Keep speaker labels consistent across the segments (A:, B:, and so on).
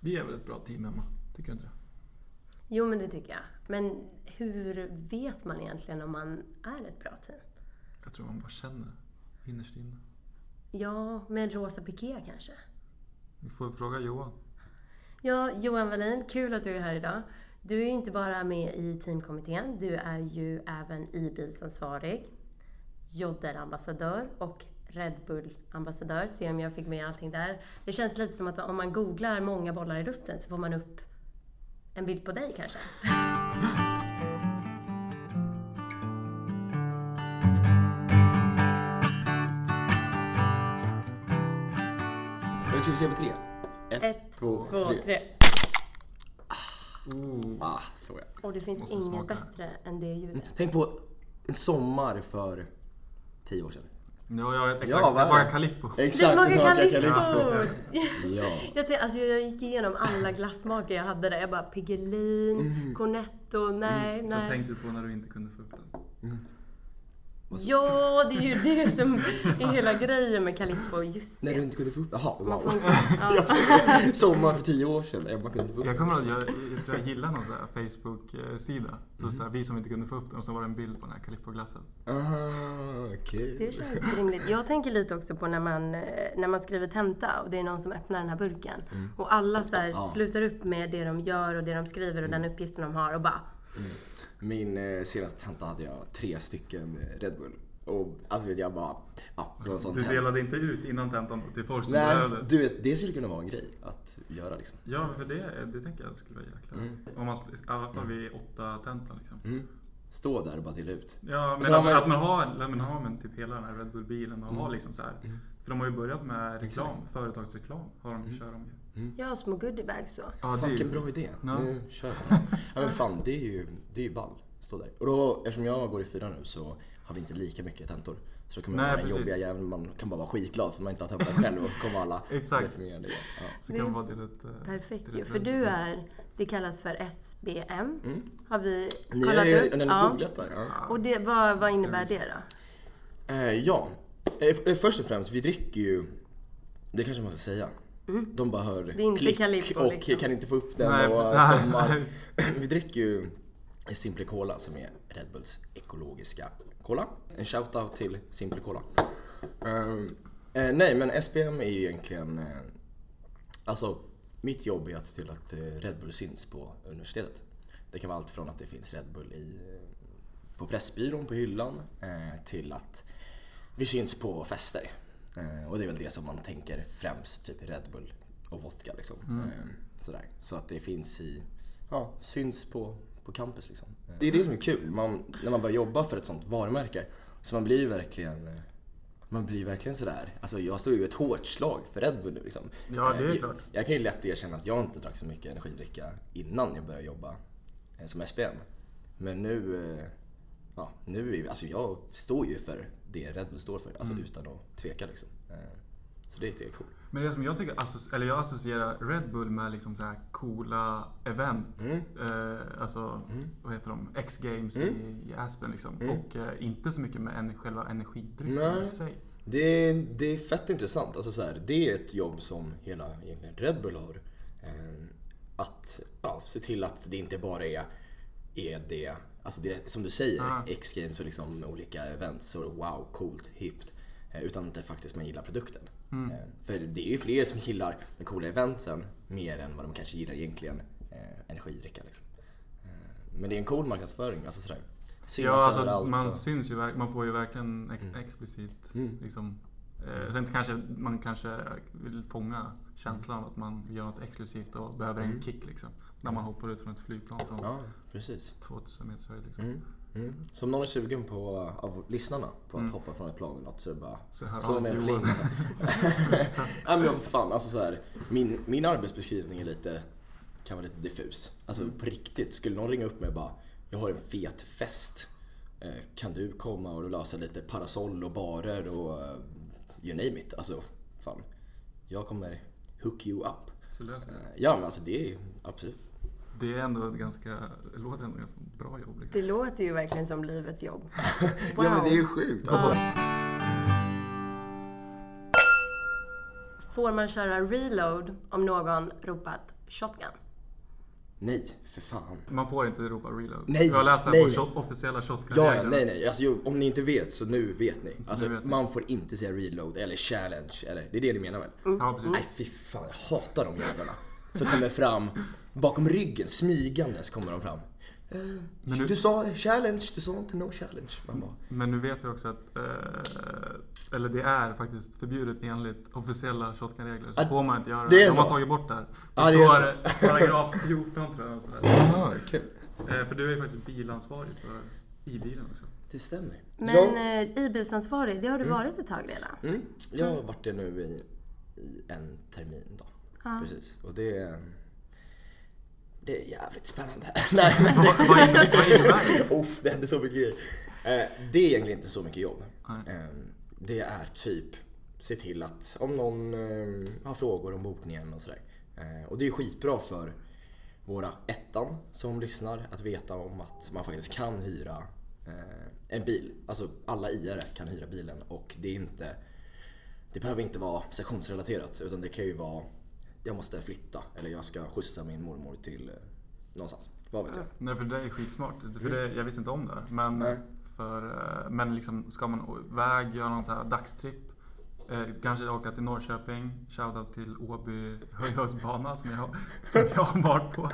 A: Vi är väl ett bra team, Emma? Tycker du inte det?
B: Jo, men det tycker jag. Men hur vet man egentligen om man är ett bra team?
A: Jag tror man bara känner det innerst inne.
B: Ja, med en rosa piké kanske?
A: Vi får fråga Johan.
B: Ja, Johan Wallin, kul att du är här idag. Du är ju inte bara med i teamkommittén, du är ju även e-bilsansvarig, Jodder-ambassadör och Red Bull-ambassadör. Se om jag fick med allting där. Det känns lite som att om man googlar många bollar i luften så får man upp en bild på dig kanske.
C: Nu ska vi se på tre. Ett,
B: Ett,
C: två,
B: två,
C: tre.
B: tre.
A: Oh.
C: Ah, så ja.
B: Och det finns
A: Måste
B: inget
A: smaka.
B: bättre än det ljudet.
C: Tänk på en sommar för tio år sedan.
A: Ja, jag, exakt.
C: Ja,
A: jag
C: vad är
A: smakar
C: det?
A: Calippo.
C: Exakt, det smakar Calippo.
B: Calippo!
C: Ja.
B: Jag, tänkte, alltså, jag gick igenom alla glassmaker jag hade där. Jag bara Piggelin,
C: Mm.
B: Cornetto, nej,
A: Sen
B: nej.
A: tänkte du på när du inte kunde få upp den.
B: Ja, det är ju det som är hela grejen med Calippo. Just
C: När du
B: det.
C: inte kunde få upp... Jaha, wow.
B: får inte-
C: Sommar för tio år sedan. Emma kunde inte få upp
A: Jag kommer ihåg att jag, jag, tror jag gillade någon sån här Facebook-sida. Så så här, vi som inte kunde få upp den och så var det en bild på den här Calippo-glassen.
C: Ah, okej.
B: Det känns rimligt. Jag tänker lite också på när man, eh, när man skriver tenta och det är någon som öppnar den här burken. Och alla så här
C: Mm. Ja. Mm.
B: slutar upp med det de gör och det de skriver och den uppgiften de har och bara
C: Min eh, senaste tenta hade jag tre stycken eh, Red Bull. Och alltså vet jag bara... Ja, det var en sån
A: Du
C: tenta.
A: delade inte ut innan tentan till folk som
C: Nej,
A: behövde.
C: du vet, det skulle kunna vara en grej att göra liksom.
A: Ja, för det, det tänker jag skulle vara jäkla Om man, I alla fall vid åtta tentan liksom.
C: Mm. Stå där och bara dela ut.
A: Ja, men
C: Så har
A: alltså,
C: man-
A: att man har, att man har men typ hela den här Red Bull-bilen och har liksom så här. För de har ju börjat med reklam, företagsreklam. Har de, Kör de ju.
C: Mm.
B: jag har små goodiebags så.
A: Mm. Ja,
C: Fan
A: det är
C: vilken
A: ju...
C: bra idé.
A: Ja.
C: Nu kör jag. bara. Ja men fan det är ju, det är ju ball. Stå där. Och då, eftersom jag går i fyran nu så har vi inte lika mycket tentor. Så då kommer
A: Nej,
C: man vara den
A: precis.
C: jobbiga jäveln. Man kan bara vara skitglad för man inte har tentat själv och så kommer alla
A: Exakt.
C: definierade. Ja.
A: Så kan man vara till ett... eh,
B: Perfekt
A: till
B: ju.
A: ett
B: För
A: Red
B: du
A: Bull.
B: är, det kallas för SBM. Har vi
C: Mm. Ni
B: kollat
C: har ju
B: upp?
C: ni har
B: Ja.
C: googlat där. Ja.
B: Och det, vad, vad innebär det då?
C: Eh, ja. Eh, f- eh, först och främst, vi dricker ju, det kanske man ska säga. De bara hör
B: är inte
C: klick
B: Calippo,
C: och
B: liksom.
C: kan inte få upp den
A: Nej,
C: och
A: nej,
C: sommar.
A: nej.
C: Vi dricker ju Simple Cola som är Red Bulls ekologiska cola. En shoutout till Simple Cola. Ehm, eh, nej men SPM är ju egentligen, eh, alltså mitt jobb är att se till att eh, Red Bull syns på universitetet. Det kan vara allt från att det finns Red Bull i, eh, på Pressbyrån på hyllan eh, till att vi syns på fester. Eh, och det är väl det som man tänker främst, typ Red Bull och vodka liksom. Eh, sådär. Så att det finns i, ja, syns på, på campus liksom. Eh, Det är det som är kul, man, när man börjar jobba för ett sånt varumärke. Så man blir ju verkligen eh, man blir verkligen sådär, alltså jag står ju ett hårt slag för Red Bull nu liksom.
A: Ja, det är
C: Eh, jag,
A: klart.
C: jag kan ju lätt erkänna att jag inte drack så mycket energidricka innan jag började jobba eh, som SPN. Men nu, eh, ja, nu är, vi- alltså jag står ju för det Red Bull står för, alltså utan att tveka liksom. Eh, Så det tycker jag är coolt.
A: Men det som jag tycker, associ- eller jag associerar Red Bull med liksom så här coola event. Eh, alltså, vad heter de? X-games
C: Mm.
A: i, i Aspen liksom. Och eh, inte så mycket med en, själva energidrycken i
C: Nej.
A: sig.
C: Det, det är fett intressant. Alltså så här, det är ett jobb som hela egentligen Red Bull har. Eh, Att ja, se till att det inte bara är, är det, alltså det som du säger,
A: Ah.
C: X-games och liksom olika event. Så wow, coolt, hippt. Eh, Utan att det faktiskt man gillar produkten.
A: Mm.
C: Eh, För det är ju fler som gillar de coola eventen mer än vad de kanske gillar egentligen eh, energidricka. Liksom. Eh, Men det är en cool marknadsföring. Alltså sådär. Synas
A: Ja, alltså,
C: överallt
A: man
C: och- Mm.
A: syns ju verk- man får ju verkligen ex- explicit liksom. Eh, sen kanske man kanske vill fånga känslan av att man gör något exklusivt och behöver en kick liksom. När man hoppar ut från ett flygplan från
C: Mm. Ja, Mm. precis.
A: 2000 meters höjd liksom.
C: Så om någon är sugen på, av lyssnarna på att hoppa från ett plan eller något så är det bara
A: Så här,
C: slå
A: Mm. ja,
C: mig en
A: Johan.
C: pling. Nej men vad fan, alltså så här, min, min arbetsbeskrivning är lite, kan vara lite diffus. Alltså
A: Mm.
C: på riktigt, skulle någon ringa upp mig och bara “Jag har en fet fest, Eh, kan du komma och lösa lite parasoll och barer och eh, you name it”. Alltså fan, jag kommer hook you up.
A: Så löser det.
C: Eh, Ja men alltså det är ju absolut.
A: Det är ändå ett ganska, det låter ändå ganska bra jobb. Liksom.
B: Det låter ju verkligen som livets jobb. Wow.
C: sjukt
A: Alltså-
B: Får man köra reload om någon ropat shotgun.
C: Nej, för fan.
A: Man får inte ropa reload.
C: Nej,
A: jag har läst det här
C: nej.
A: på shot, officiella shotgun
C: Ja, ja, nej, nej. Alltså, jo, om ni inte vet så nu vet ni. Alltså,
A: nu vet ni.
C: man får inte säga reload eller challenge. Eller, det är det ni menar väl?
B: Mm.
A: Ja, precis.
C: Nej, fy fan. Jag hatar de jävlarna. Som kommer fram bakom ryggen, smygandes kommer de fram. Eh,
A: nu-
C: Du sa challenge, du sa inte no challenge. Man bara,
A: Men nu vet vi också att, eh, eller det är faktiskt förbjudet enligt officiella shotgunregler. Så
C: Ah,
A: får man inte göra
C: det
A: det.
C: är
A: De har
C: så.
A: tagit bort det här.
C: Ah, det
A: det
C: är
A: står eh, paragraf 14 tror jag. och sådär.
C: Aha, kul.
A: Eh, för du är ju faktiskt bilansvarig för i bilen också.
C: Det stämmer.
B: Men eh, ibilsansvarig, det har du varit ett tag redan.
C: Mm. Jag har varit det nu i, i en termin då. Precis. Och det är, det är jävligt spännande. Nej, men det,
A: Vad innebär, vad innebär det?
C: oh, det hände så mycket grejer. Eh, det är egentligen inte så mycket jobb. Eh, det är typ se till att om någon eh, har frågor om bokningen och sådär. Eh, och det är skitbra för våra ettan som lyssnar att veta om att man faktiskt kan hyra eh, en bil. Alltså alla IR kan hyra bilen och det är inte det behöver inte vara sessionsrelaterat utan det kan ju vara jag måste flytta eller jag ska skjutsa min mormor till eh, någonstans. Vad vet jag?
A: Nej, för det där är skitsmart. För det, jag visste inte om det här. Men,
C: Nej.
A: för, eh, men liksom, ska man iväg, göra någon så här dagstripp. Eh, kanske åka till Norrköping. Shoutout till Åby höghöjdsbana som jag, som jag har varit på.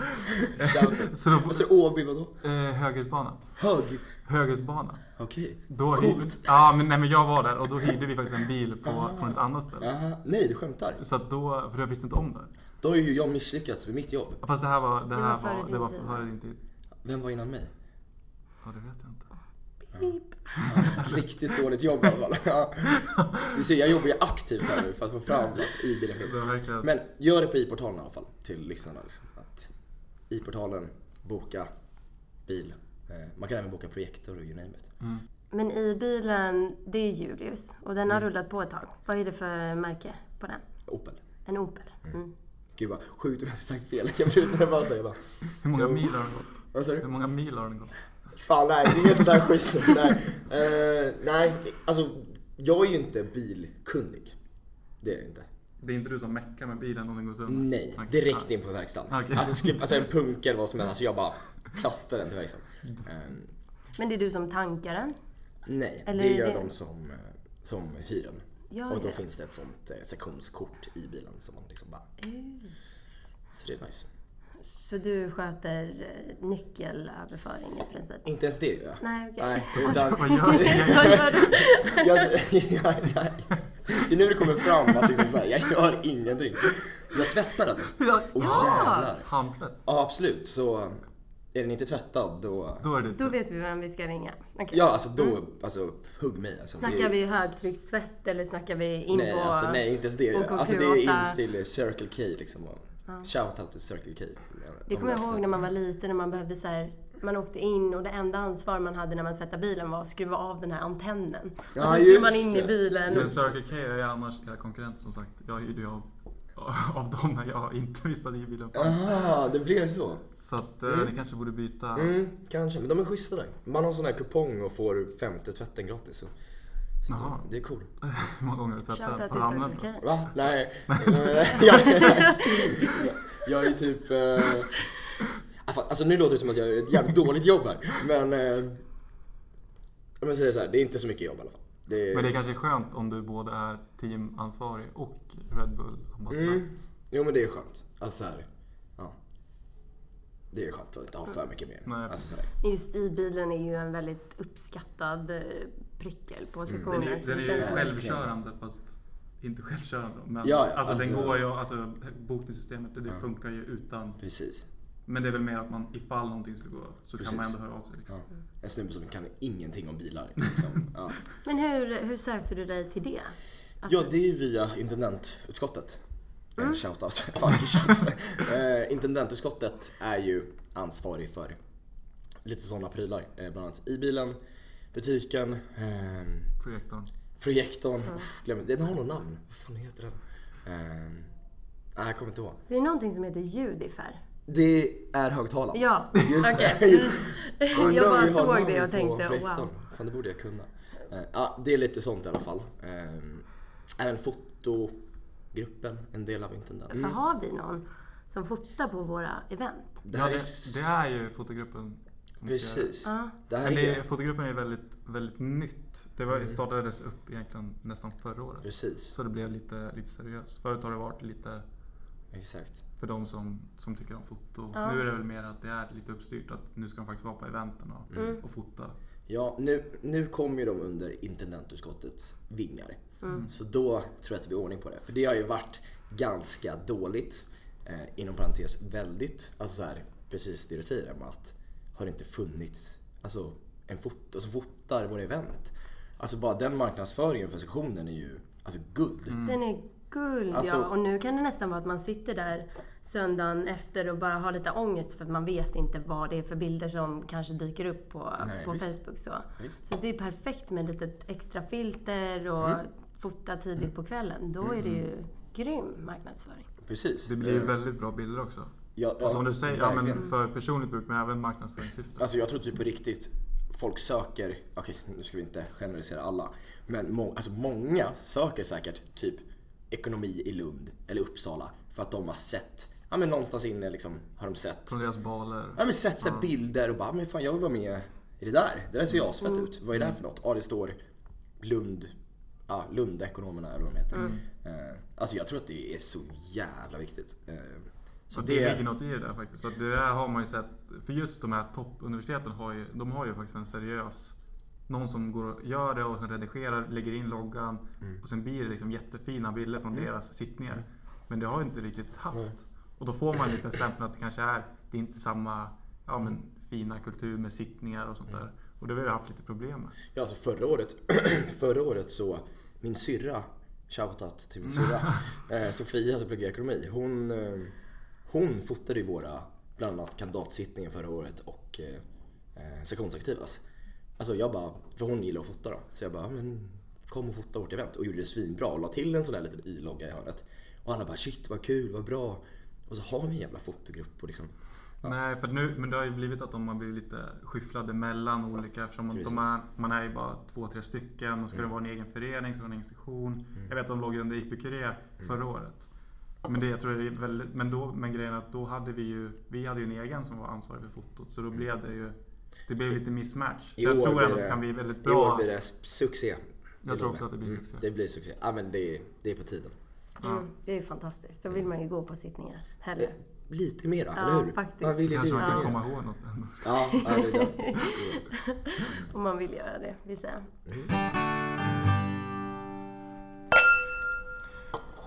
C: Shoutout.
A: så då,
C: Alltså Åby vadå?
A: eh, höghöjdsbana.
C: Hög?
A: Höghöjdsbana.
C: Okej.
A: Då
C: Coolt.
A: Ja, men, nej, men jag var där och då hyrde vi faktiskt en bil på, från ett annat ställe.
C: Aha, nej du skämtar.
A: Så att då, för jag visste inte om det. här.
C: Då har ju jag misslyckats med mitt jobb.
A: Fast det här var, det
B: var
A: här
B: före
A: var, det
B: din
A: var
B: tid.
A: före din tid.
C: Vem var innan mig?
A: Ja, det vet jag inte.
C: Riktigt dåligt jobb i alla fall. Ja. Du ser, jag jobbar ju aktivt här nu för att få fram att i-bilen
A: Det var
C: finns.
A: verkligen...
C: Men gör det på i-portalen i alla fall till lyssnarna. Liksom. Att i-portalen, boka bil. Eh, Man kan även boka projektor och you name it.
B: Men i bilen, det är Julius och den har
C: Mm.
B: rullat på ett tag. Vad är det för märke på den?
C: Opel.
B: En Opel? Mm.
C: Gud vad sjukt om jag sagt fel. Jag blir lite nervös där. jag bara,
A: Hur många mil har den gått?
C: Vad sa du?
A: Hur många mil har den gått?
C: Fan nej, det är ingen sån där skit. nej. Eh, nej, alltså jag är ju inte bilkunnig. Det är jag inte.
A: Det är inte du som meckar med bilen om den går sönder?
C: Nej,
A: Okej.
C: direkt in på verkstaden.
A: Okej.
C: Alltså, skulle, alltså en punker eller vad som helst. Alltså jag bara kastar den till verkstaden. Ehm,
B: Men det är du som tankar den?
C: nej,
B: Eller
C: det
B: är
C: gör
B: det-
C: de som, eh, som hyr den.
B: Ja,
C: och då
B: ja.
C: finns det ett sånt eh, sektionskort i bilen som man liksom bara... Så det är nice.
B: Så du sköter eh, nyckelöverföring i princip?
C: Inte ens det gör jag.
B: Nej, okej.
C: Nej, utan,
A: Vad gör du?
B: Vad gör du?
C: jag, jag, jag, det är nu det kommer fram att liksom så här, jag gör ingenting. Jag tvättar den. Och
B: Ah!
C: jävlar.
A: Handtvätt?
C: Ja, absolut. Så är den inte tvättad då...
A: Då är det typ-
B: Då vet vi vem vi ska ringa. Okay.
C: Ja, alltså
B: Mm.
C: då... Alltså, hugg mig. Alltså, det är-
B: Snackar vi högtryckstvätt eller snackar vi in
C: Nej,
B: på...
C: alltså, nej, inte ens det. gör jag.
B: OKQ8?
C: Alltså, det är in till Circle K liksom. Och Shoutout till Circle K.
B: Det kommer jag ihåg när man var liten när man behövde så här, man åkte in och det enda ansvar man hade när man tvättade bilen var att skruva av den här antennen.
C: Ja,
B: och sen skulle
C: just
B: man in i
C: det.
B: bilen.
A: Men Circle K är ju annars era konkurrent som sagt. Jag hyrde ju av, av dem när jag inte visste att bilen fanns.
C: Aha, det blev så.
A: Så att eh, ni kanske borde byta.
C: Mm, kanske. Men de är schyssta där. Man har sån här kupong och får femte tvätten gratis. Så, så
A: Jaha.
C: det, det är cool.
A: Hur många gånger du
B: Shoutout
A: tvättat på
B: till
A: ramen?
B: Circle K.
C: Va? Nej. jag, jag är typ... Eh, ah, fan, alltså nu låter det som att jag gör ett jävligt dåligt jobb här. Men... Eh, om jag säger så här, det är inte så mycket jobb i alla fall. Det,
A: Men det är kanske är skönt om du både är teamansvarig och Red Bull-ambassadör.
C: Mm. Jo men det är skönt. Alltså så här, ja. Det är skönt att inte ha för mycket mer.
A: Nej.
C: Alltså, så här.
B: Just i bilen är ju en väldigt uppskattad eh, prickel på sektioner.
A: Mm, Den är,
B: så det
A: den är ju
B: känns-
A: självkörande fast inte självkörande. Men
C: Ja, ja,
A: alltså, den
C: alltså-
A: går ju, alltså bokningssystemet det, det funkar ju utan.
C: Precis.
A: Men det är väl mer att man ifall någonting skulle gå så
C: Precis.
A: kan man ändå höra av sig. Liksom.
C: Ja. En snubbe som kan ingenting om bilar. Liksom. Ja.
B: Men hur, hur sökte du dig till det? Alltså,
C: ja, det är via intendentutskottet. En
B: Mm.
C: shoutout. Fan, vilken shout. eh, intendentutskottet är ju ansvarig för lite sådana prylar. Eh, bland annat i bilen, butiken, ehm,
A: Projektorn.
C: projektorn.
B: Mm.
C: Uff, glöm inte. Den har något namn. Vad fan heter den? Ehm, nej, jag kommer inte ihåg.
B: Det är någonting som heter Judifer.
C: Det är högtalaren.
B: Ja,
C: Just
B: okej.
C: det, just
B: Mm.
C: Undrar
B: Jag
C: om
B: bara
C: vi har
B: såg det
C: namn
B: och
C: på
B: tänkte
C: projektorn.
B: wow.
C: Fan, det borde jag kunna. Eh, Ja, det är lite sånt i alla fall. Eh, Även fotogruppen, en del av intendenten.
A: Mm.
B: För har vi någon som fotar på våra event.
C: Det
A: ja,
C: här
A: det,
C: är...
A: det är ju fotogruppen. som ska göra det.
C: Precis.
B: Ja.
C: Det här
A: Men det,
C: är... Mm.
A: är- fotogruppen är väldigt, väldigt nytt. Det var, startades upp egentligen nästan förra året.
C: Precis.
A: Så det blev lite, lite seriöst. Förut har det varit lite
C: Exakt.
A: för de som, som tycker om foto.
B: Ja.
A: Nu är det väl mer att det är lite uppstyrt att nu ska de faktiskt vara på eventen och,
C: Mm.
A: och fota.
C: Ja, nu, nu kommer ju de under intendentutskottets vingar. Så då tror jag att det blir ordning på det. För det har ju varit ganska dåligt. Eh, inom parentes väldigt. Alltså så här, precis det du säger Emma, att har det inte funnits alltså, en foto som fotar våra event. Alltså bara den marknadsföringen för sektionen är ju alltså guld.
A: Mm.
B: Den är guld
C: Alltså-
B: ja. Och nu kan det nästan vara att man sitter där söndagen efter och bara har lite ångest för att man vet inte vad det är för bilder som kanske dyker upp på,
C: Nej,
B: på
C: visst.
B: Facebook. Så.
C: Visst.
B: så det är perfekt med ett litet extra filter och
C: Mm.
B: fota tidigt på kvällen. Då är det ju grym marknadsföring.
C: Precis. Eh,
A: Det blir ju väldigt bra bilder också.
C: Ja, ja,
A: Och som du säger, ja,
C: verkligen.
A: men för personligt bruk men även marknadsföringssyfte.
C: Alltså jag tror typ på riktigt folk söker, okej nu ska vi inte generalisera alla, men må, alltså många söker säkert typ ekonomi i Lund eller Uppsala för att de har sett, ja men någonstans inne liksom har de sett,
A: Från deras baler.
C: ja men sett så här bilder och bara, "Ah, men fan jag vill vara med i det där, det där
A: Mm.
C: ser ju asfett ut, vad är det här för något? Ja det står Lund, ja Lundekonomerna eller vad de heter.
A: Mm.
C: Eh, alltså jag tror att det är så jävla viktigt. Eh, så
A: Så det ligger något i det där faktiskt. För att det där har man ju sett. För just de här toppuniversiteten har ju, de har ju faktiskt en seriös någon som går och gör det och sen redigerar, lägger in loggan
C: Mm.
A: och sen blir det liksom jättefina bilder från deras sittningar. Men det har ju inte riktigt haft. Och då får man lite stämpeln att det kanske är, det är inte samma ja, men, fina kultur med sittningar och sånt
C: Mm.
A: där. Och det har vi haft lite problem med.
C: Ja, alltså förra året, förra året så, min syrra, shoutout till min syrra, eh, Sofia som pluggar ekonomi, hon, eh, hon fotade ju våra, bland annat kandidatsittningen förra året och eh, eh, sektionsaktivas. Alltså jag bara, för hon gillar att fota då, så jag bara, men kom och fota vårt event och gjorde det svinbra och la till en sån där liten i-logga i hörnet. Och alla bara shit vad kul, vad bra. Och så har vi en jävla fotogrupp och liksom,
A: Nej, för nu, men det har ju blivit att de har blivit lite skyfflade mellan olika eftersom att de är, man är ju bara två, tre stycken och
C: Mm.
A: ska det vara en egen förening, ska det vara en egen sektion. Jag vet att de låg under IP Curie
C: Mm.
A: förra året. Men, det, jag tror det är väldigt, men, då, men grejen är att då hade vi ju, vi hade ju en egen som var ansvarig för fotot så då blev det ju det blev lite mismatch. Så
C: Mm. I
A: jag
C: år
A: tror
C: blir
A: ändå att
C: det-
A: det kan bli väldigt
C: i år
A: bra.
C: blir det succé. Mm,
A: Jag tror också att det blir succé.
C: Det blir succé. Ja men det, det är på tiden.
B: Mm. Det är ju fantastiskt. Då vill man ju gå på sittningar. Heller.
C: Lite mera,
B: Ja,
C: eller hur?
B: faktiskt.
C: Man vill ju
A: Kanske
C: lite
A: man kan
C: mer.
A: komma ihåg något.
C: Ja, ja, det är det.
B: Om man vill göra det, vill säga.
C: Mm.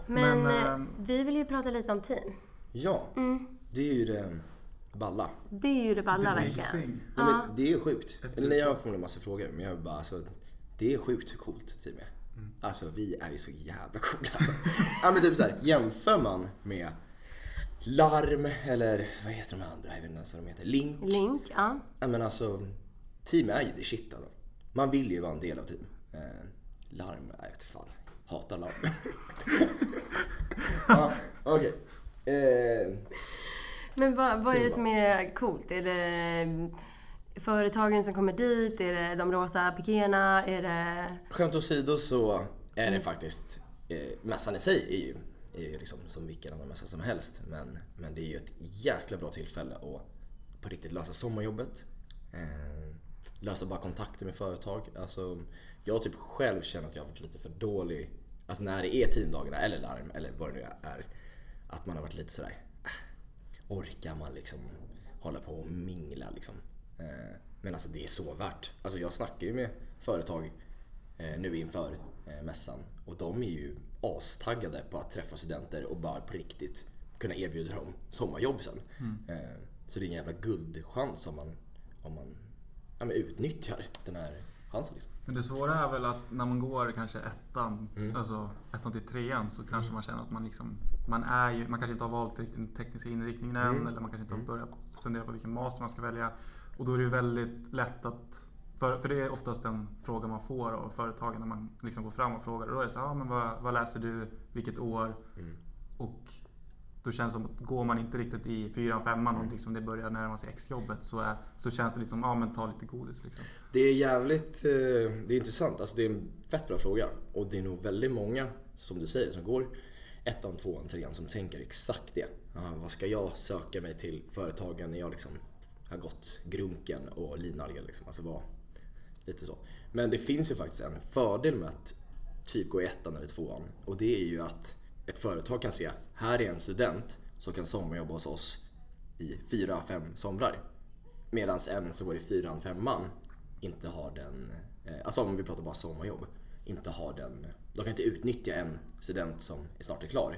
B: Men,
A: Men,
B: eh,
A: ehm,
B: vi vill ju prata lite om team.
C: ja
B: Mm.
C: det är ju det balla.
B: Det är ju det balla verkligen.
A: thing.
C: Nej, men det är ju sjukt. Eller nej, jag har förmodligen massa frågor, men jag vill bara alltså, det är sjukt hur coolt team är.
A: Mm.
C: Alltså vi är ju så jävla coola alltså. ja men typ såhär, jämför man med Larm eller vad heter de andra? Jag vet inte ens vad de heter. Link.
B: Link, ja.
C: Ja men alltså, team är ju det shit alltså. Man vill ju vara en del av team. Eh, larm, nej jag vet fan. Hatar larm. ja, okej. Eh,
B: Men vad, vad är det
C: Team.
B: som är coolt? Är det företagen som kommer dit? Är det de rosa pikéerna? Är det...
C: skämt åsido så är det faktiskt, eh, mässan i sig är ju, är ju liksom som vilken annan mässa som helst. Men, men det är ju ett jäkla bra tillfälle att på riktigt lösa sommarjobbet. Eh, lösa bara kontakter med företag. Alltså, jag typ själv känner att jag har varit lite för dålig, alltså när det är teamdagarna eller larm eller vad det nu är. Att man har varit lite sådär, "Ah, orkar man liksom hålla på och mingla liksom? Eh, men alltså det är så värt. Alltså jag snackar ju med företag eh, nu inför eh, mässan och de är ju astaggade på att träffa studenter och bara på riktigt kunna erbjuda dem sommarjobb sen. Eh, så det är en jävla guldchans om man, om man ja, men utnyttjar den här chansen. Liksom.
A: Men det svåra är väl att när man går kanske ettan, alltså ettan till trean så kanske man känner att man liksom man, är ju, man kanske inte har valt riktigt den tekniska inriktningen än eller man kanske inte har börjat fundera på vilken master man ska välja. Och då är det ju väldigt lätt att för, för det är oftast den fråga man får av företagen när man liksom går fram och frågar. Och då är det så här, ah, men vad, vad läser du? Vilket år? Och då känns det som att går man inte riktigt i fyran, femman och liksom det börjar närma sig exjobbet så, är, så känns det liksom, ja ah, men ta lite godis liksom.
C: Det är jävligt eh, det är intressant. Alltså, det är en fett bra fråga. Och det är nog väldigt många, som du säger, som går ettan, tvåan, trean som tänker exakt det. ja, vad ska jag söka mig till företagen när jag liksom har gått grunken och linalgen liksom. Alltså vad, lite så. Men det finns ju faktiskt en fördel med att typ gå i ettan eller tvåan och det är ju att ett företag kan se, här är en student som kan sommarjobba hos oss i fyra, fem somrar. Medan en som går i fyran, femman inte har den, eh, alltså om vi pratar bara sommarjobb, inte har den, de kan inte utnyttja en student som är snart är klar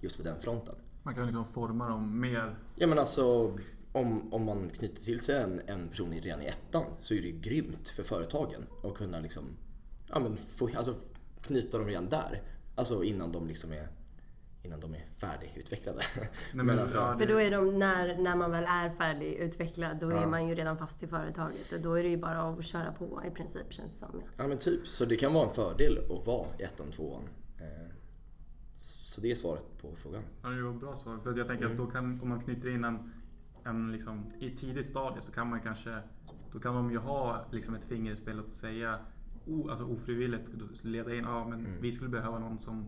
C: just på den fronten.
A: Man kan liksom forma dem mer.
C: Ja men alltså om, om man knyter till sig en, en person i- redan i ettan så är det ju grymt för företagen att kunna liksom, ja, men få, alltså, knyta dem redan där. Alltså innan de liksom är, innan de är färdigutvecklade. alltså-
A: men, ja,
B: För då är de, när, när man väl är färdigutvecklad, då är man ju redan fast i företaget. Och då är det ju bara att köra på i princip, känns det som. Ja.
C: Ja men typ, så det kan vara en fördel att vara i ettan, tvåan. Eh, Så det är svaret på frågan.
A: Ja, det var bra svar. För att jag tänker att då kan, om man knyter in en, en liksom, i ett tidigt stadie så kan man kanske, då kan de ju ha liksom ett finger i spelet och säga o, alltså ofrivilligt då leda in, ja men vi skulle behöva någon som,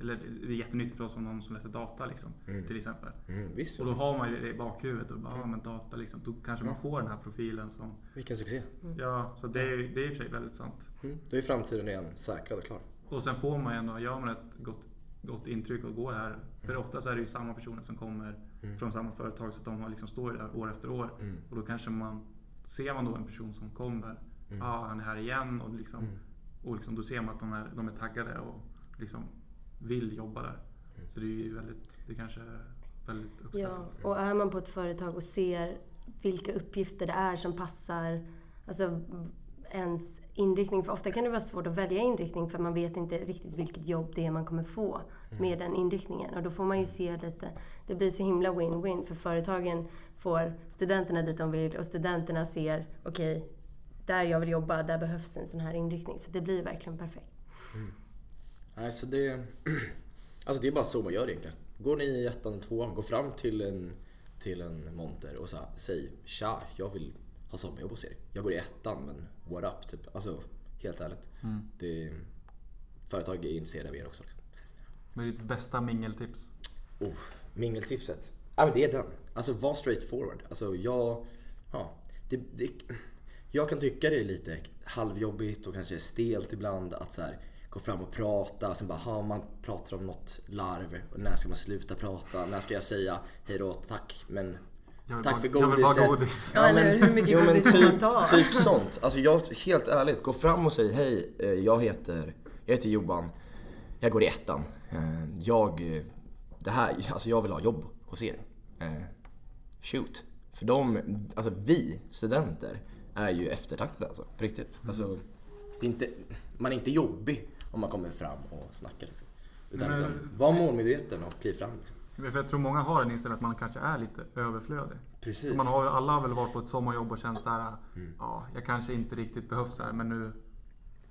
A: eller det är jättenyttigt för oss om någon som läser data liksom, till exempel.
C: Mm, visst,
A: Och då har man ju det i bakhuvudet och bara, ja men data liksom, då kanske man får den här profilen som,
C: vilken succé.
A: ja så det är, ju- det är i och för sig väldigt sant.
C: Mm. Då är framtiden redan säkrad och klar.
A: Och sen får man ju ändå, gör man ett gott, gott intryck och går här. För ofta så är det ju samma personer som kommer från samma företag så att de har liksom står där år efter år.
C: Mm.
A: Och då kanske man, ser man då en person som kommer, ah, han är här igen och, liksom, och liksom, då ser man att de är, de är taggade och liksom vill jobba där. Så det är ju väldigt, det kanske är väldigt uppskattat.
B: och är man på ett företag och ser vilka uppgifter det är som passar alltså, ens inriktning. För ofta kan det vara svårt att välja inriktning för man vet inte riktigt vilket jobb det är man kommer få med den inriktningen. Och då får man ju se lite, det blir så himla win-win för företagen får studenterna dit de vill och studenterna ser, okej, där jag vill jobba, där behövs en sån här inriktning. Så det blir verkligen perfekt.
C: Nej, så det, alltså det är bara så man gör egentligen. Går ni i ettan, tvåan, gå fram till en, till en monter och så här, säg tja, jag vill ha sommarjobb hos er. Jag går i ettan men what up? Typ. Alltså helt ärligt. Det, företag är intresserade av er också. Liksom.
A: Vad är ditt bästa mingeltips?
C: Oh, mingeltipset. Ja men det är den. Alltså var straight forward. Alltså jag... Ja, det, det, jag kan tycka det är lite halvjobbigt och kanske stelt ibland att så här, gå fram och prata och sen bara ha man pratar om något larv. Och när ska man sluta prata? När ska jag säga hej då, tack men
A: Jag vill
C: tack
A: bara-
C: för
A: jag vill bara
C: godiset.
A: godis.
B: Ja, eller hur? Hur mycket
C: jo, men
B: godis får man
C: typ,
B: ta?
C: Typ sånt. Alltså jag, helt ärligt, gå fram och säg hej, eh, jag heter, jag heter Johan. Jag går i ettan. Eh, Jag, eh, det här, alltså jag vill ha jobb hos er. Eh, Shoot. För de, alltså vi studenter är ju eftertraktade alltså, på riktigt.
A: Mm.
C: Alltså, det är inte, man är inte jobbig om man kommer fram och snackar liksom. Utan
A: Men-
C: liksom, var målmedveten och kliv fram.
A: För jag tror många har den inställningen att man kanske är lite överflödig.
C: Precis.
A: Man har, alla har väl varit på ett sommarjobb och känt såhär,
C: Mm.
A: ja, jag kanske inte riktigt behövs här men nu,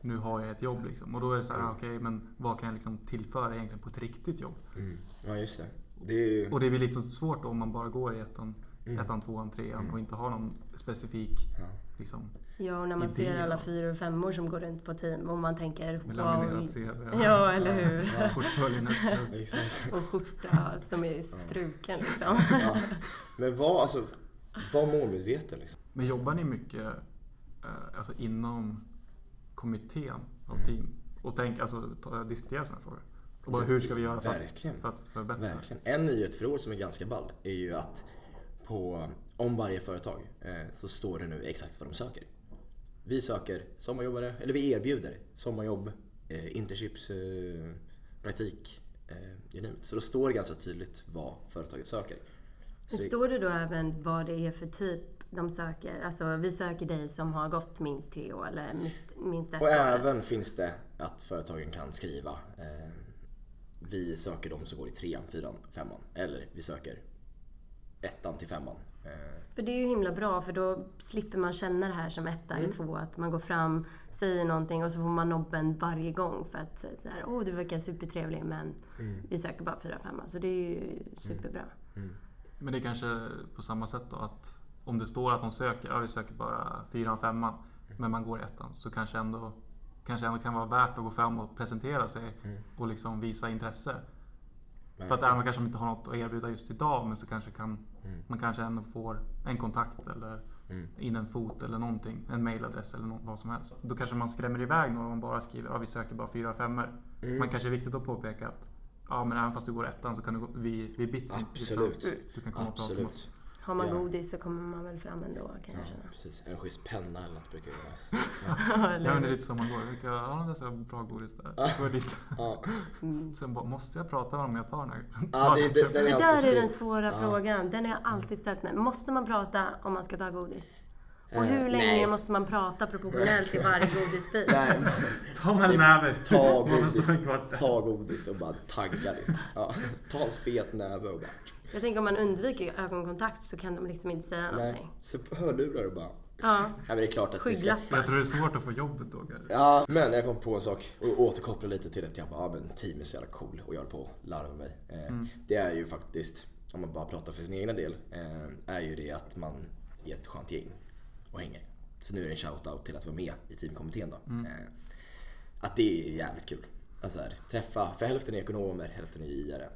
A: nu har jag ett jobb liksom. Och då är det såhär,
C: Mm.
A: okej men vad kan jag liksom tillföra egentligen på ett riktigt jobb?
C: Mm. Ja just det. Det är ju...
A: Och det blir liksom svårt om man bara går i ettan,
C: Mm.
A: ettan tvåan, trean och inte har någon specifik liksom,
B: Ja, och när man
A: Idéer.
B: ser alla fyra och femmor som går runt på team och man tänker
A: med
B: wow.
A: laminerat CV.
B: Ja, eller hur?
A: Portföljen är-
C: Exakt.
B: Och skjorta som är struken liksom.
C: Ja. Men var, alltså, var målmedveten liksom.
A: Men jobbar ni mycket eh, alltså inom kommittén av
C: Mm.
A: team? Och tänk, alltså, ta, diskutera sådana frågor? Och bara, hur ska vi göra för, att-
C: Verkligen.
A: för att förbättra?
C: Verkligen. En nyhet för år som är ganska ball är ju att på, om varje företag eh, så står det nu exakt vad de söker. Vi söker sommarjobbare, eller vi erbjuder sommarjobb, eh, internships, eh, praktik, eh, you name it. Så då står det ganska tydligt vad företaget söker.
B: Men Står det då även vad det är för typ de söker? Alltså, vi söker dig som har gått minst tre år eller mitt- minst ett
C: Och
B: år.
C: även finns det att företagen kan skriva eh, Vi söker de som går i trean, fyran, femman. Eller vi söker ettan till femman. Eh,
B: För det är ju himla bra för då slipper man känna det här som etta
C: Mm.
B: eller två att man går fram, säger någonting och så får man nobben varje gång för att så här, åh du verkar supertrevlig men vi söker bara fyra, femma. Så det är ju
C: Mm.
B: superbra.
A: Men det är kanske på samma sätt då att om det står att de söker, ja vi söker bara fyran, femman,
C: Mm.
A: men man går i ettan så kanske ändå kanske ändå kan vara värt att gå fram och presentera sig och liksom visa intresse. För
C: Mm.
A: att även om kanske inte har något att erbjuda just idag men så kanske kan, man kanske ändå får en kontakt eller in en fot eller någonting. En mailadress eller nå- vad som helst. Då kanske man skrämmer iväg någon om man bara skriver att vi söker bara fyra femmor.
C: Mm.
A: Mm. Man kanske är viktigt att påpeka att ja, men även fast du går ettan så kan du gå, vi, vi bits inte, utan
C: Absolut.
A: Du kan komma och prata med oss.
C: Mm. Absolut.
B: Har man
C: Ja.
B: godis så kommer man väl fram ändå kan jag känna.
C: Precis. En schysst penna eller något brukar göras.
A: Ja, men det är lite som man går. Vilka har de dessa bra godis
C: Ah.
A: där? Går dit.
C: Ja,
A: Sen bara, måste jag prata med dem jag tar den här?
C: ja Ah, det, det, den
B: Det
C: är
B: där
C: alltid
B: är den
C: stor.
B: svåra frågan. Den har jag alltid ställt mig. Måste man prata om man ska ta godis? Och hur
C: Eh,
B: länge
C: nej.
B: måste man prata proportionellt i varje godisbit?
C: Nej, men
A: Ta med en näve!
C: ta
A: Måste stå
C: godis,
A: en kvart.
C: ta godis och bara tagga liksom. Ja, ta en spet näve och bara...
B: Jag tänker om man undviker ögonkontakt så kan de liksom inte säga
C: Nej.
B: någonting.
C: Så hörlurar och bara...
B: Ja,
C: Ja, men det är klart att det ska...
A: Jag
B: skygglappar.
A: tror det är svårt att få jobbet då kanske.
C: Ja, men jag kom på en sak och återkopplar lite till att jag bara, ja men team är så jävla cool och jag håller på att larva mig. Eh, Det är ju faktiskt, om man bara pratar för sin egna del, eh, är ju det att man är ett skönt gäng och hänger. Så nu är det en shout-out till att vara med i teamkommittén då. Eh, Att det är jävligt kul. Alltså här, träffa, för hälften är ekonomer, hälften är JR.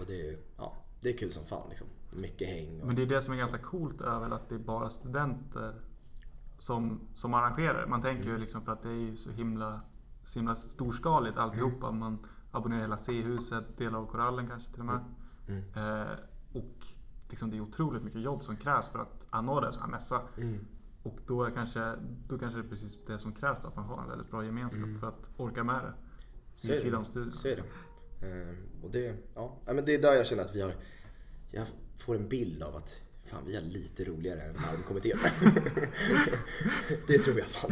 C: Och det är ju, ja, det är kul som fan liksom. Mycket häng och...
A: Men det är det som är ganska coolt är väl att det är bara studenter som, som arrangerar. Man tänker ju liksom för att det är ju så himla, så himla storskaligt alltihopa.
C: Mm.
A: Man abonnerar hela C-huset, delar av korallen kanske till och med.
C: Mm.
A: Eh, och liksom det är otroligt mycket jobb som krävs för att anordna en sån här mässa.
C: Mm.
A: Och då, är kanske, då kanske det är precis det som krävs då, att man har en väldigt bra gemenskap för att orka med det.
C: Så
A: Vid
C: är det.
A: sidan av studierna.
C: Så är det. Ehm, Och det, ja. ja, men det är där jag känner att vi har... Jag får en bild av att fan, vi är lite roligare än larmkommittén. det tror jag fan.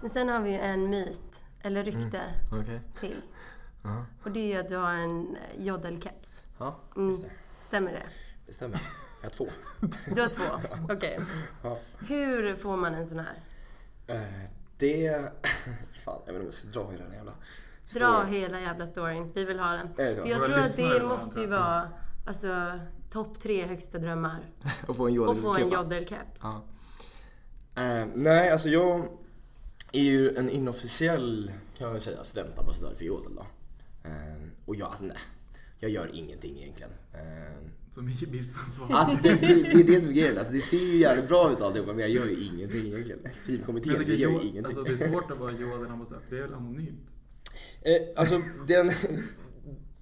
B: Men sen har vi ju en myt, eller
C: Mm.
B: rykte,
C: Okej.
B: till. Och det är ju att du har en eh, jodelkeps. Mm.
C: Ja, just det.
B: Stämmer det?
C: Det stämmer. Jag har två.
B: Du har två? Okej.
C: Ja.
B: Hur får man en sån här?
C: Eh, Det... Fan, jag vet inte om jag ska dra hela den jävla...
B: Dra
C: storyn.
B: hela jävla storyn. Vi vill ha den.
C: Är det så?
B: För jag
A: Våra
B: tror att
A: lyssnare
B: det
A: vill ha
B: måste ju
A: den, tror
B: vara alltså, topp tre högsta drömmar.
C: Och få en
B: Att få en
C: jodelkepa.
B: jodelkeps.
C: Ja. Eh, nej, alltså jag är ju en inofficiell, kan man väl säga, studentambassadör för Jodel då. Eh, och jag, alltså nej. Jag gör ingenting egentligen. Eh,
A: Som i Birsan svar.
C: alltså det, det, det är det som är grejen. Alltså, det ser ju jävligt bra ut alltihopa men jag gör ju ingenting egentligen. Teamkommittén,
A: Jag
C: vi
A: tycker
C: gör ju
A: Jo-
C: ingenting.
A: Alltså, det är svårt att vara Johan ambassadör, för det är väl anonymt?
C: Eh, alltså, den,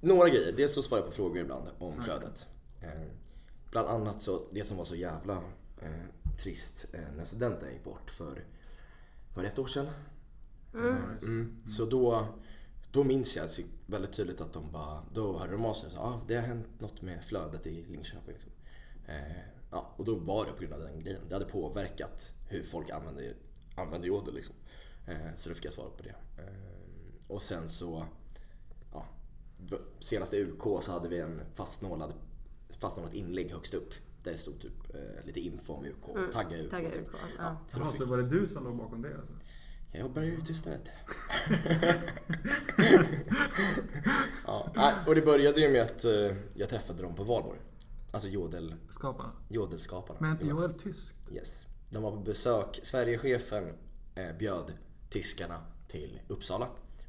C: några grejer. Dels så svarar jag på frågor ibland
A: Mm.
C: om flödet. Eh, bland annat så, det som var så jävla eh, trist eh, när studenten gick bort för, var det ett år sedan? Mm. Så då, då minns jag alltså väldigt tydligt att de bara, då hade de av sig och sa ah, det har hänt något med flödet i Linköping. Liksom. Eh, ja, och då var det på grund av den grejen. Det hade påverkat hur folk använder, använder jodel. Liksom. Eh, så då fick jag svar på det. Eh, och sen så, ja, v- senaste UK så hade vi en fastnålad, fastnålat inlägg högst upp. Där det stod typ eh, lite info om UK, tagga UK.
B: Mm. Tagga
C: typ.
B: ut på.
C: Ja,
B: Ja.
C: så då
A: Jaha,
C: fick
A: så var det du som låg bakom det alltså?
C: jag jobbar ju tyst vet ja, nej, och det började ju med att eh, jag träffade dem på valborg. Alltså jodel,
A: Skaparna?
C: jodelskaparna.
A: Men är inte Joel tysk?
C: Yes. De var på besök. Sverigechefen eh, bjöd tyskarna till Uppsala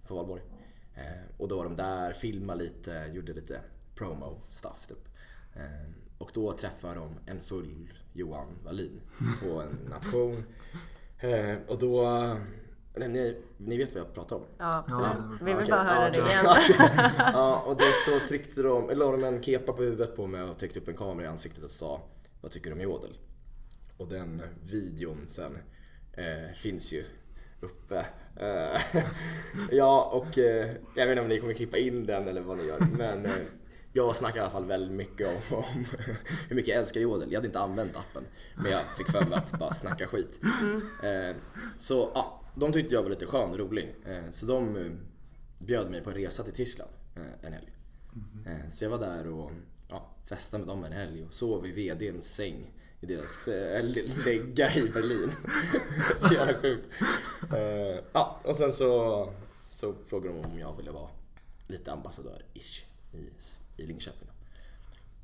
C: på valborg. Eh, och då var de där, filmade lite, gjorde lite promo-stuff typ. Eh, och då träffade de en full Johan Wallin på en nation. Eh, och då... Nej, ni, ni vet vad jag pratar om? Ah,
B: ja, absolut. Vi vill
C: Okej,
B: bara höra
C: ja,
B: det
C: ja.
B: igen.
C: ja, och då så tryckte de, eller la de en kepa på huvudet på mig och täckte upp en kamera i ansiktet och sa Vad tycker du om jodel? Och den videon sen eh, finns ju uppe. Eh, ja, och eh, jag vet inte om ni kommer klippa in den eller vad ni gör, men eh, jag snackar i alla fall väldigt mycket om, om hur mycket jag älskar jodel. Jag hade inte använt appen, men jag fick för mig att bara snacka skit. Eh, så ja, de tyckte jag var lite skön och rolig, eh, så de eh, bjöd mig på en resa till Tyskland eh, en helg. Eh, Så jag var där och ja, festade med dem en helg och sov i VDns säng i deras eh, l- lägga i Berlin. så jävla sjukt. Eh, Ja, och sen så, så frågade de om jag ville vara lite ambassadör-ish i, S- i Linköping. då.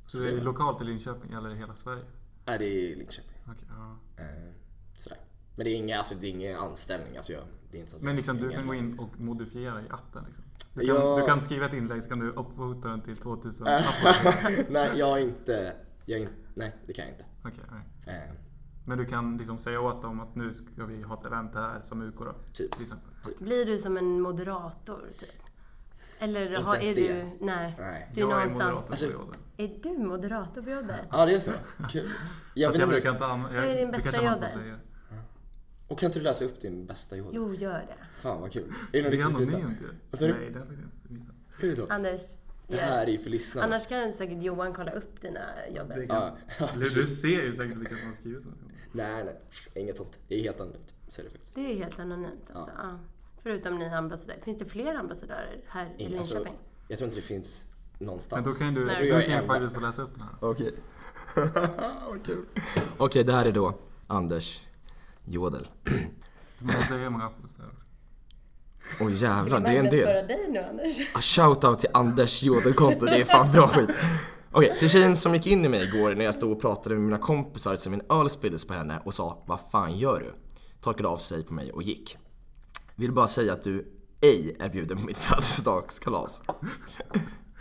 A: Så det är lokalt i Linköping eller i hela Sverige?
C: Nej, det är i Linköping.
A: Okej, ja.
C: Eh, Sådär. Men det är ingen, alltså, det är ingen anställning. Alltså jag, Det är inte så att
A: Men
C: jag-
A: liksom, du
C: ingen-
A: kan gå in och modifiera i appen. Liksom. Du, kan,
C: Ja.
A: du kan skriva ett inlägg så kan du upvota den till 2000 upvotes.
C: nej, jag är inte... Jag är inte nej, det kan jag inte.
A: Okej, nej.
C: Eh,
A: Men du kan liksom säga åt dem att nu ska vi ha ett event här som UK då. Liksom.
C: Typ.
A: Till exempel.
B: Blir du som en moderator, typ? Eller har,
C: ens
B: är
C: det.
B: du... Nej.
C: nej.
B: Du är
A: jag är
B: någonstans...
A: moderator.
C: Alltså-
A: på jodel.
B: Är du moderator på Jodder?
C: Ja, det är så. Kul. Jag
A: Fast
C: vet
A: jag
C: inte
A: brukar
C: ens-
A: inte använda...
B: Vad är din
A: det
B: bästa
A: kanske man får
B: jodel?
A: säga.
C: Och kan inte du läsa upp din bästa jodel?
B: Jo, gör det.
C: Fan vad kul. Är det
A: Det är
C: någon riktigt
A: anonymt
C: pinsam?
A: ju.
C: Vad sa du?
A: Nej, det är faktiskt inte pinsamt.
C: Är det så?
B: Anders,
C: Det
B: gör det.
C: här är ju för lyssnarna.
B: Annars kan säkert Johan kolla upp dina
A: Det
B: Jodder.
A: kan-
C: Ja, ja,
A: Du, du
C: precis.
A: ser ju säkert vilka som har skrivit sådana.
C: Nej, nej. Inget sånt. Det är helt anonymt. Så är det faktiskt.
B: Det är helt anonymt alltså. Ja. Förutom ni ambassadörer. Finns det fler ambassadörer här i
C: Alltså,
B: Linköping?
C: jag tror inte det finns
A: Men då
C: någonstans.
A: kan ju du,
B: Nej.
A: då
B: Jag tror
C: jag
A: kan
C: är
A: jag
C: enda.
A: faktiskt få läsa upp den här.
C: Okej. Vad kul. Okej, det här är då Anders jodel.
A: Man får säga hur många upvotes det är också.
C: Åh jävlar, det är en del.
B: Marknadsföra dig nu, Anders.
C: Ah, Shoutout till Anders jodelkonto, det är fan bra skit. Okej, till tjejen som gick in i mig igår när jag stod och pratade med mina kompisar så min öl spilldes på henne och sa Vad fan gör du? Torkade av sig på mig och gick. Vill bara säga att du ej är bjuden på mitt födelsedagskalas.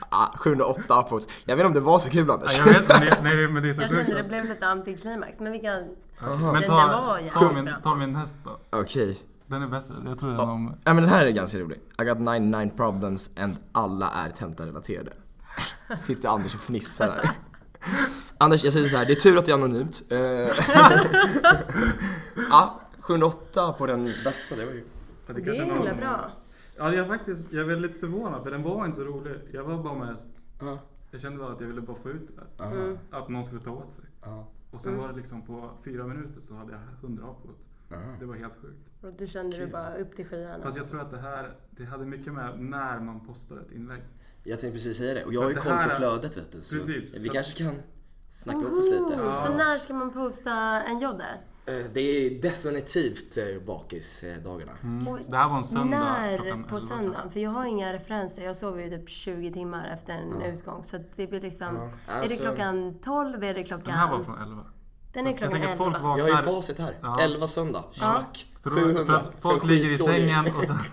C: Ah, 708 upvotes. Jag vet inte om det var så kul Anders.
A: Jag vet inte, men det- nej, men det är så
B: Jag
A: sjukt.
B: kände det blev lite antiklimax, men vi kan...
A: Men
B: Den där
A: ta,
B: var jävligt
A: ta, min,
B: bra.
A: ta min häst då.
C: Okej.
A: Den är bättre. Jag tror den är om...
C: Ja men den här är ganska rolig. I got 99 problems and alla är tentarelaterade. Sitter Anders och fnissar här. Anders, jag säger så här, det är tur att det är anonymt. Eh, ja, 708 på den bästa, det var ju...
A: Det
B: Det är himla bra.
A: Ja, jag, är faktiskt, jag är väldigt förvånad för den var inte så rolig. Jag var bara mest...
C: Ja.
A: Jag kände bara att jag ville bara få ut det. där.
B: Mm.
A: Att någon skulle ta åt sig.
C: Ja.
A: Och sen var det liksom på fyra minuter så hade jag 100 upvotes. Det var helt sjukt.
B: Och du kände du
C: Kul.
B: bara upp till skyarna.
A: Fast jag tror att det här, det hade mycket med när man postade ett inlägg.
C: Jag tänkte precis säga det, och jag har ju
A: Det
C: koll
A: här
C: på
A: är-
C: flödet vet du. Så
A: Precis,
C: vi
A: så-
C: kanske kan snacka ihop oss lite.
B: Ooh, Så
A: Ja.
B: när ska man posta en Jodder?
C: Eh, Det är definitivt eh, bakisdagarna.
B: Och
A: Mm. Det här var en söndag
B: När
A: klockan
B: på
A: 11.
B: söndagen? För jag har inga referenser. Jag sover ju typ 20 timmar efter en utgång. Så att det blir liksom...
C: Alltså,
B: Är det klockan 12? Är det klockan...
A: Den här var från 11.
B: Den är
A: Jag
B: klockan
A: tänker att folk
B: 11.
A: vaknar...
C: Jag har ju facit här.
A: Ja.
C: 11 söndag, snack.
A: För, då, för
C: 700.
A: att folk ligger i
C: skitdålig-
A: sängen och sen...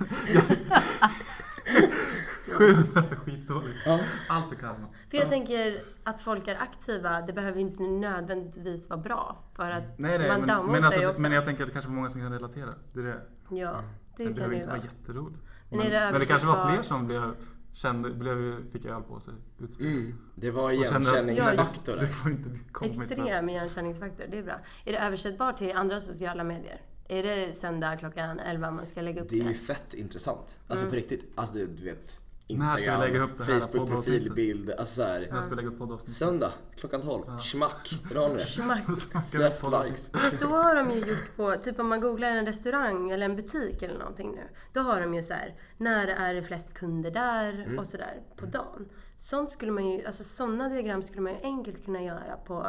A: 700 är skitdåligt.
C: Ja.
A: Allt för karma.
B: För jag tänker att folk är aktiva, det behöver ju inte nödvändigtvis vara bra. För att
A: Nej, nej,
B: man
A: men,
B: downvotar
A: men,
B: ju
A: alltså,
B: också.
A: men jag tänker att det kanske är många som kan relatera. Det är det.
B: ja, det
A: Det
B: kan
A: behöver
B: det ju
A: inte vara
B: vara.
A: jätteroligt.
B: Men
A: Men,
B: är det
A: men det kanske var
B: översatt
A: fler
B: av-
A: som blev, kände, blev, fick öl på sig. utspel.
C: Mm, det var
A: Och kände att-
C: igenkänningsfaktor
A: Du
C: där.
A: får inte komma med det.
B: Extrem igenkänningsfaktor, det är bra. Är det översättbart till andra sociala medier? Är det söndag klockan 11 man ska lägga upp
C: Det är ju
B: det?
C: fett intressant. Alltså på riktigt. Alltså du, du vet.
A: När ska jag
C: Instagram,
A: lägga upp det här
C: Facebook
A: poddavsnittet?
C: profilbild. Alltså såhär.
A: När ska vi lägga upp poddavsnitt?
C: Söndag klockan 12. Schmack. Ranre.
B: Schmack.
A: Snackar vi
C: Flest
A: poddavsnitt?
C: likes.
B: Så har de ju gjort på, typ om man googlar en restaurang eller en butik eller någonting nu. Då har de ju så här, när är det flest kunder där och sådär på dagen. Sånt skulle man ju, alltså sådana diagram skulle man ju enkelt kunna göra på,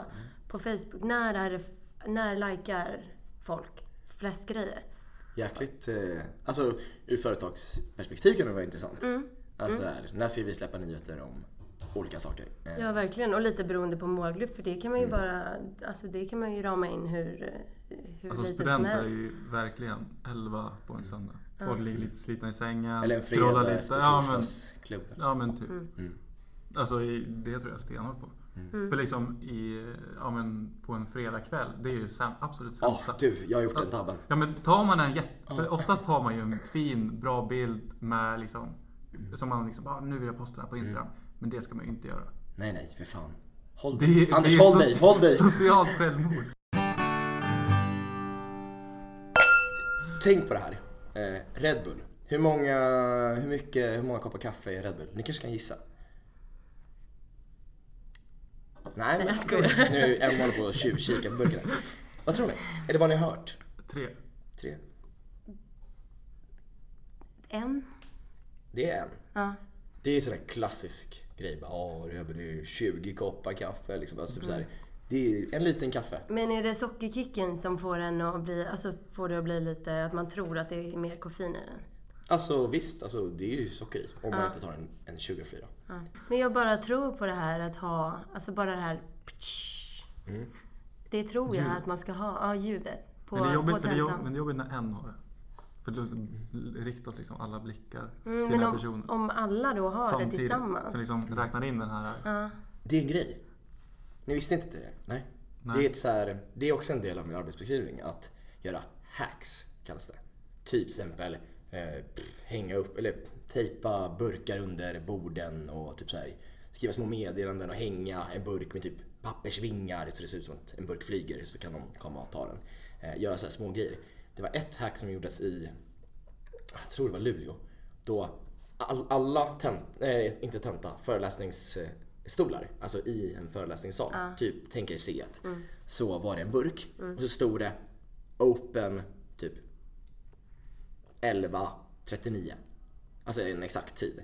B: på Facebook. När är det, f- när likar folk flest grejer?
C: Jäkligt. Eh, alltså ur företagsperspektiv kan det vara intressant. Alltså här, när ska vi släppa nyheter om olika saker? Eh,
B: Ja, verkligen. Och lite beroende på målgrupp, för det kan man ju
A: Mm.
B: bara, alltså det kan man ju rama in hur, hur
A: Alltså
B: litet som
A: studenter är
B: helst.
A: ju verkligen 11 på en söndag. Folk ligger lite slitna i sängen.
C: Eller en
A: scrollar
C: fredag efter Mm.
A: Ja men,
C: torsdagsklubben.
A: ja men typ.
B: Mm.
A: Alltså i- det tror jag stenhårt på.
C: Mm.
A: För liksom i, ja, men, på en fredagkväll, det är ju sam, absolut
C: Ja
A: sämsta.
C: du, jag har gjort den tabben.
A: Ja men tar man en jätte... För oftast tar man ju en fin, bra bild med liksom... Som man liksom, ah, nu vill jag posta den här på Instagram.
C: Mm.
A: Men det ska man ju inte göra.
C: Nej nej, för fan. Håll
A: Det
C: dig.
A: är,
C: Anders
A: det är
C: håll
A: so-
C: dig, håll dig.
A: Socialt självmord.
C: Tänk på det här. Eh, Red Bull. Hur många, hur, mycket, hur många koppar kaffe är Red Bull? Ni kanske kan gissa? Nej, men
B: jag skojar.
C: nu är Emma håller på att tjuvkika på burkarna. Vad tror ni? Är det vad ni har hört?
A: Tre.
C: Tre.
B: En?
C: Det är en.
B: Ja.
C: Det är sån där klassisk grej. bara, Ja, det är- det är 20 koppar kaffe. Liksom. Alltså, typ så
B: Mm.
C: här. Det är en liten kaffe.
B: Men är det sockerkicken som får en att bli, alltså får det att bli lite, att man tror att det är mer koffein i den?
C: Alltså visst, alltså, det är ju socker i. Om man inte tar en, en sugarfree då.
B: Men jag bara tror på det här att ha, alltså bara det här Det tror jag att man ska ha, ja ljudet. På,
A: Mm. Men det är jobbigt,
B: på
A: för det är, jobb-
B: tentan.
A: men det är jobbigt när en har det. För då riktas liksom alla blickar
B: Mm,
A: till
B: men
A: den här
B: om,
A: personen.
B: om alla då har det tillsammans.
A: Så liksom räknar in den här
B: Ja.
C: Det är en grej. Ni visste inte det? Nej.
A: Nej.
C: Det, är ett så här, det är också en del av min arbetsbeskrivning. Att göra hacks, kallas det. Typ exempel eh, pff, hänga upp eller tejpa burkar under borden och typ så här, skriva små meddelanden och hänga en burk med typ pappersvingar så det ser ut som att en burk flyger så kan någon komma och ta den. Eh, göra så här små grejer. Det var ett hack som gjordes i jag tror det var Luleå, då all, alla tent, eh, inte tenta, föreläsningsstolar, alltså i en föreläsningssal, typ tänker C, så var det en burk och så stod det Open typ 11.39. Alltså en exakt tid.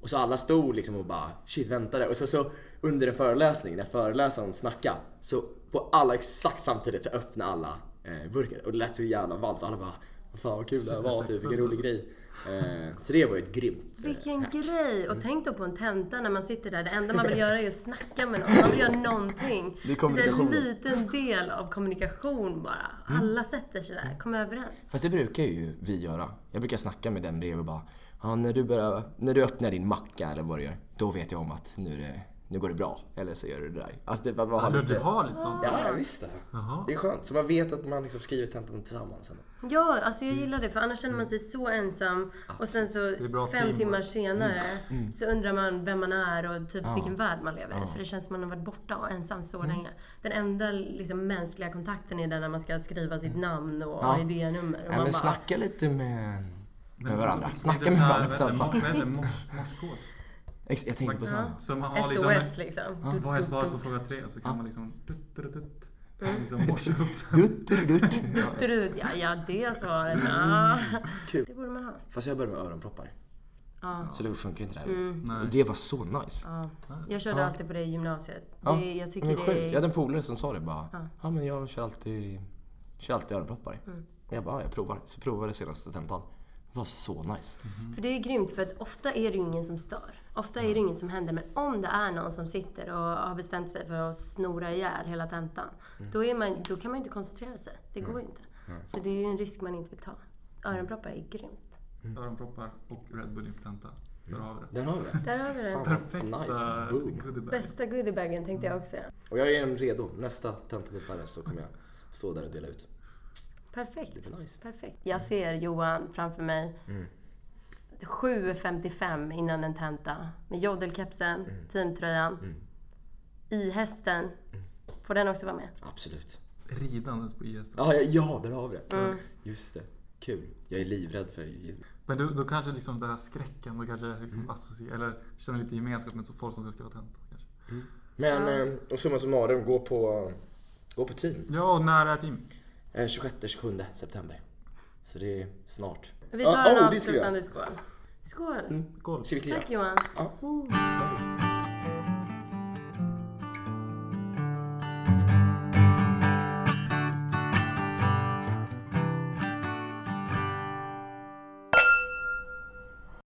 C: Och så alla stod liksom och bara shit väntade och så, så under en föreläsning när föreläsaren snackade så på alla exakt samtidigt så öppnade alla eh, burken och det lät så jävla ballt och alla bara vad fan vad kul det här var typ, vilken rolig grej. Eh, så det var ju ett grymt. eh,
B: Vilken grej! Och tänk då på en tenta när man sitter där. Det enda man vill göra är att snacka med någon. Man vill göra någonting.
C: Det är
B: Det är en
C: kommunikationen.
B: liten del av kommunikation bara.
C: Mm.
B: Alla sätter sig där, kommer överens.
C: Fast det brukar ju vi göra. Jag brukar snacka med den bredvid och bara ja, när, du börjar, när du öppnar din macka eller vad du gör, då vet jag om att nu, är det, nu går det bra. Eller så gör du det där. Alltså det, man har
A: Du, du
C: lite-
A: har lite sånt.
C: Ja, ja visst alltså.
A: Jaha.
C: Det är skönt. Så man vet att man liksom skriver tentan tillsammans. ändå.
B: Ja, alltså
C: Mm.
B: jag gillar det för annars känner man sig så ensam och sen så
A: är bra
B: fem
A: teamwork.
B: timmar senare
C: Mm.
B: så undrar man vem man är och typ vilken värld man lever i. För det känns som man har varit borta och ensam så
C: Mm.
B: länge. Den enda liksom, mänskliga kontakten är den när man ska skriva sitt namn och
C: Mm. Ja.
B: AID-nummer. Och man
C: Nej, men
B: bara,
C: snacka lite med, med varandra. Snacka
A: Lite
C: med
A: så här,
C: varandra på
A: vad heter det,
C: tentan.
A: mors- Vad heter det? Mors- Morskod.
C: Ex- Jag tänkte på samma.
A: Så man har liksom...
B: SOS liksom. Dutt,
A: Vad är
B: dutt,
A: svaret
B: dutt.
A: på fråga tre? Så kan man liksom... Dutt, dutt, dutt, liksom morsa upp den.
C: Dutt, dutt, dutt.
B: Dutterud, ja, ja det svaret. Ah.
C: Kul.
B: Det borde man ha.
C: Fast jag började med öronproppar.
B: Ja.
C: Så det funkar inte det här.
A: Mm. Nej.
C: Och det var så nice.
B: Ja. Jag körde alltid på det i gymnasiet.
C: Ja,
B: Det, jag tycker
C: men
B: det
C: sjukt. Jag
B: är...
C: hade en polare som sa det bara. Ja, men jag kör alltid, kör alltid öronproppar. Och jag bara, ja, jag provar. Så provade jag senaste tentan. Det var så nice.
B: För det är grymt, för att ofta är det ju ingen som stör. Ofta är det ingen som händer, men om det är någon som sitter och har bestämt sig för att snora ihjäl hela tentan, då, är man, då kan man ju inte koncentrera sig. Det går inte. Så det är ju en risk man inte vill ta. Öronproppar är grymt.
A: Öronproppar och Red Bull inför tenta. Där har vi det.
C: Där har vi det.
B: Där har vi det.
C: Fan,
A: Perfekta
C: nice. Boom.
A: goodiebag.
B: Bästa goodiebagen tänkte jag också.
C: Och jag är redo. Nästa tentatillfälle så kommer jag stå där och dela ut.
B: Perfekt.
C: Det blir nice.
B: Perfekt. Jag ser Johan framför mig. 7.55 innan en tenta. Med jodelkepsen, teamtröjan. I hästen. Får den också vara med?
C: Absolut.
A: Ridandes på IS.
C: Ja, ja, ja, där har vi det. Just det. Kul. Jag är livrädd för djur.
A: Men du, då kanske liksom den här skräcken, då kanske det liksom associerar, eller känner lite gemenskap med så folk som ska skriva tenta. Kanske.
C: Men eh, och summa summarum, gå på, gå på team.
A: Ja, och nära team.
C: Eh, 26-27 september. Så det är snart.
B: Vi
C: Ja,
B: tar en
C: oh, det ska vi göra.
A: Mm,
B: avslutande skål. Skål!
A: Golf.
C: Ska vi kliva?
B: Tack Johan.
C: Ja. Nice.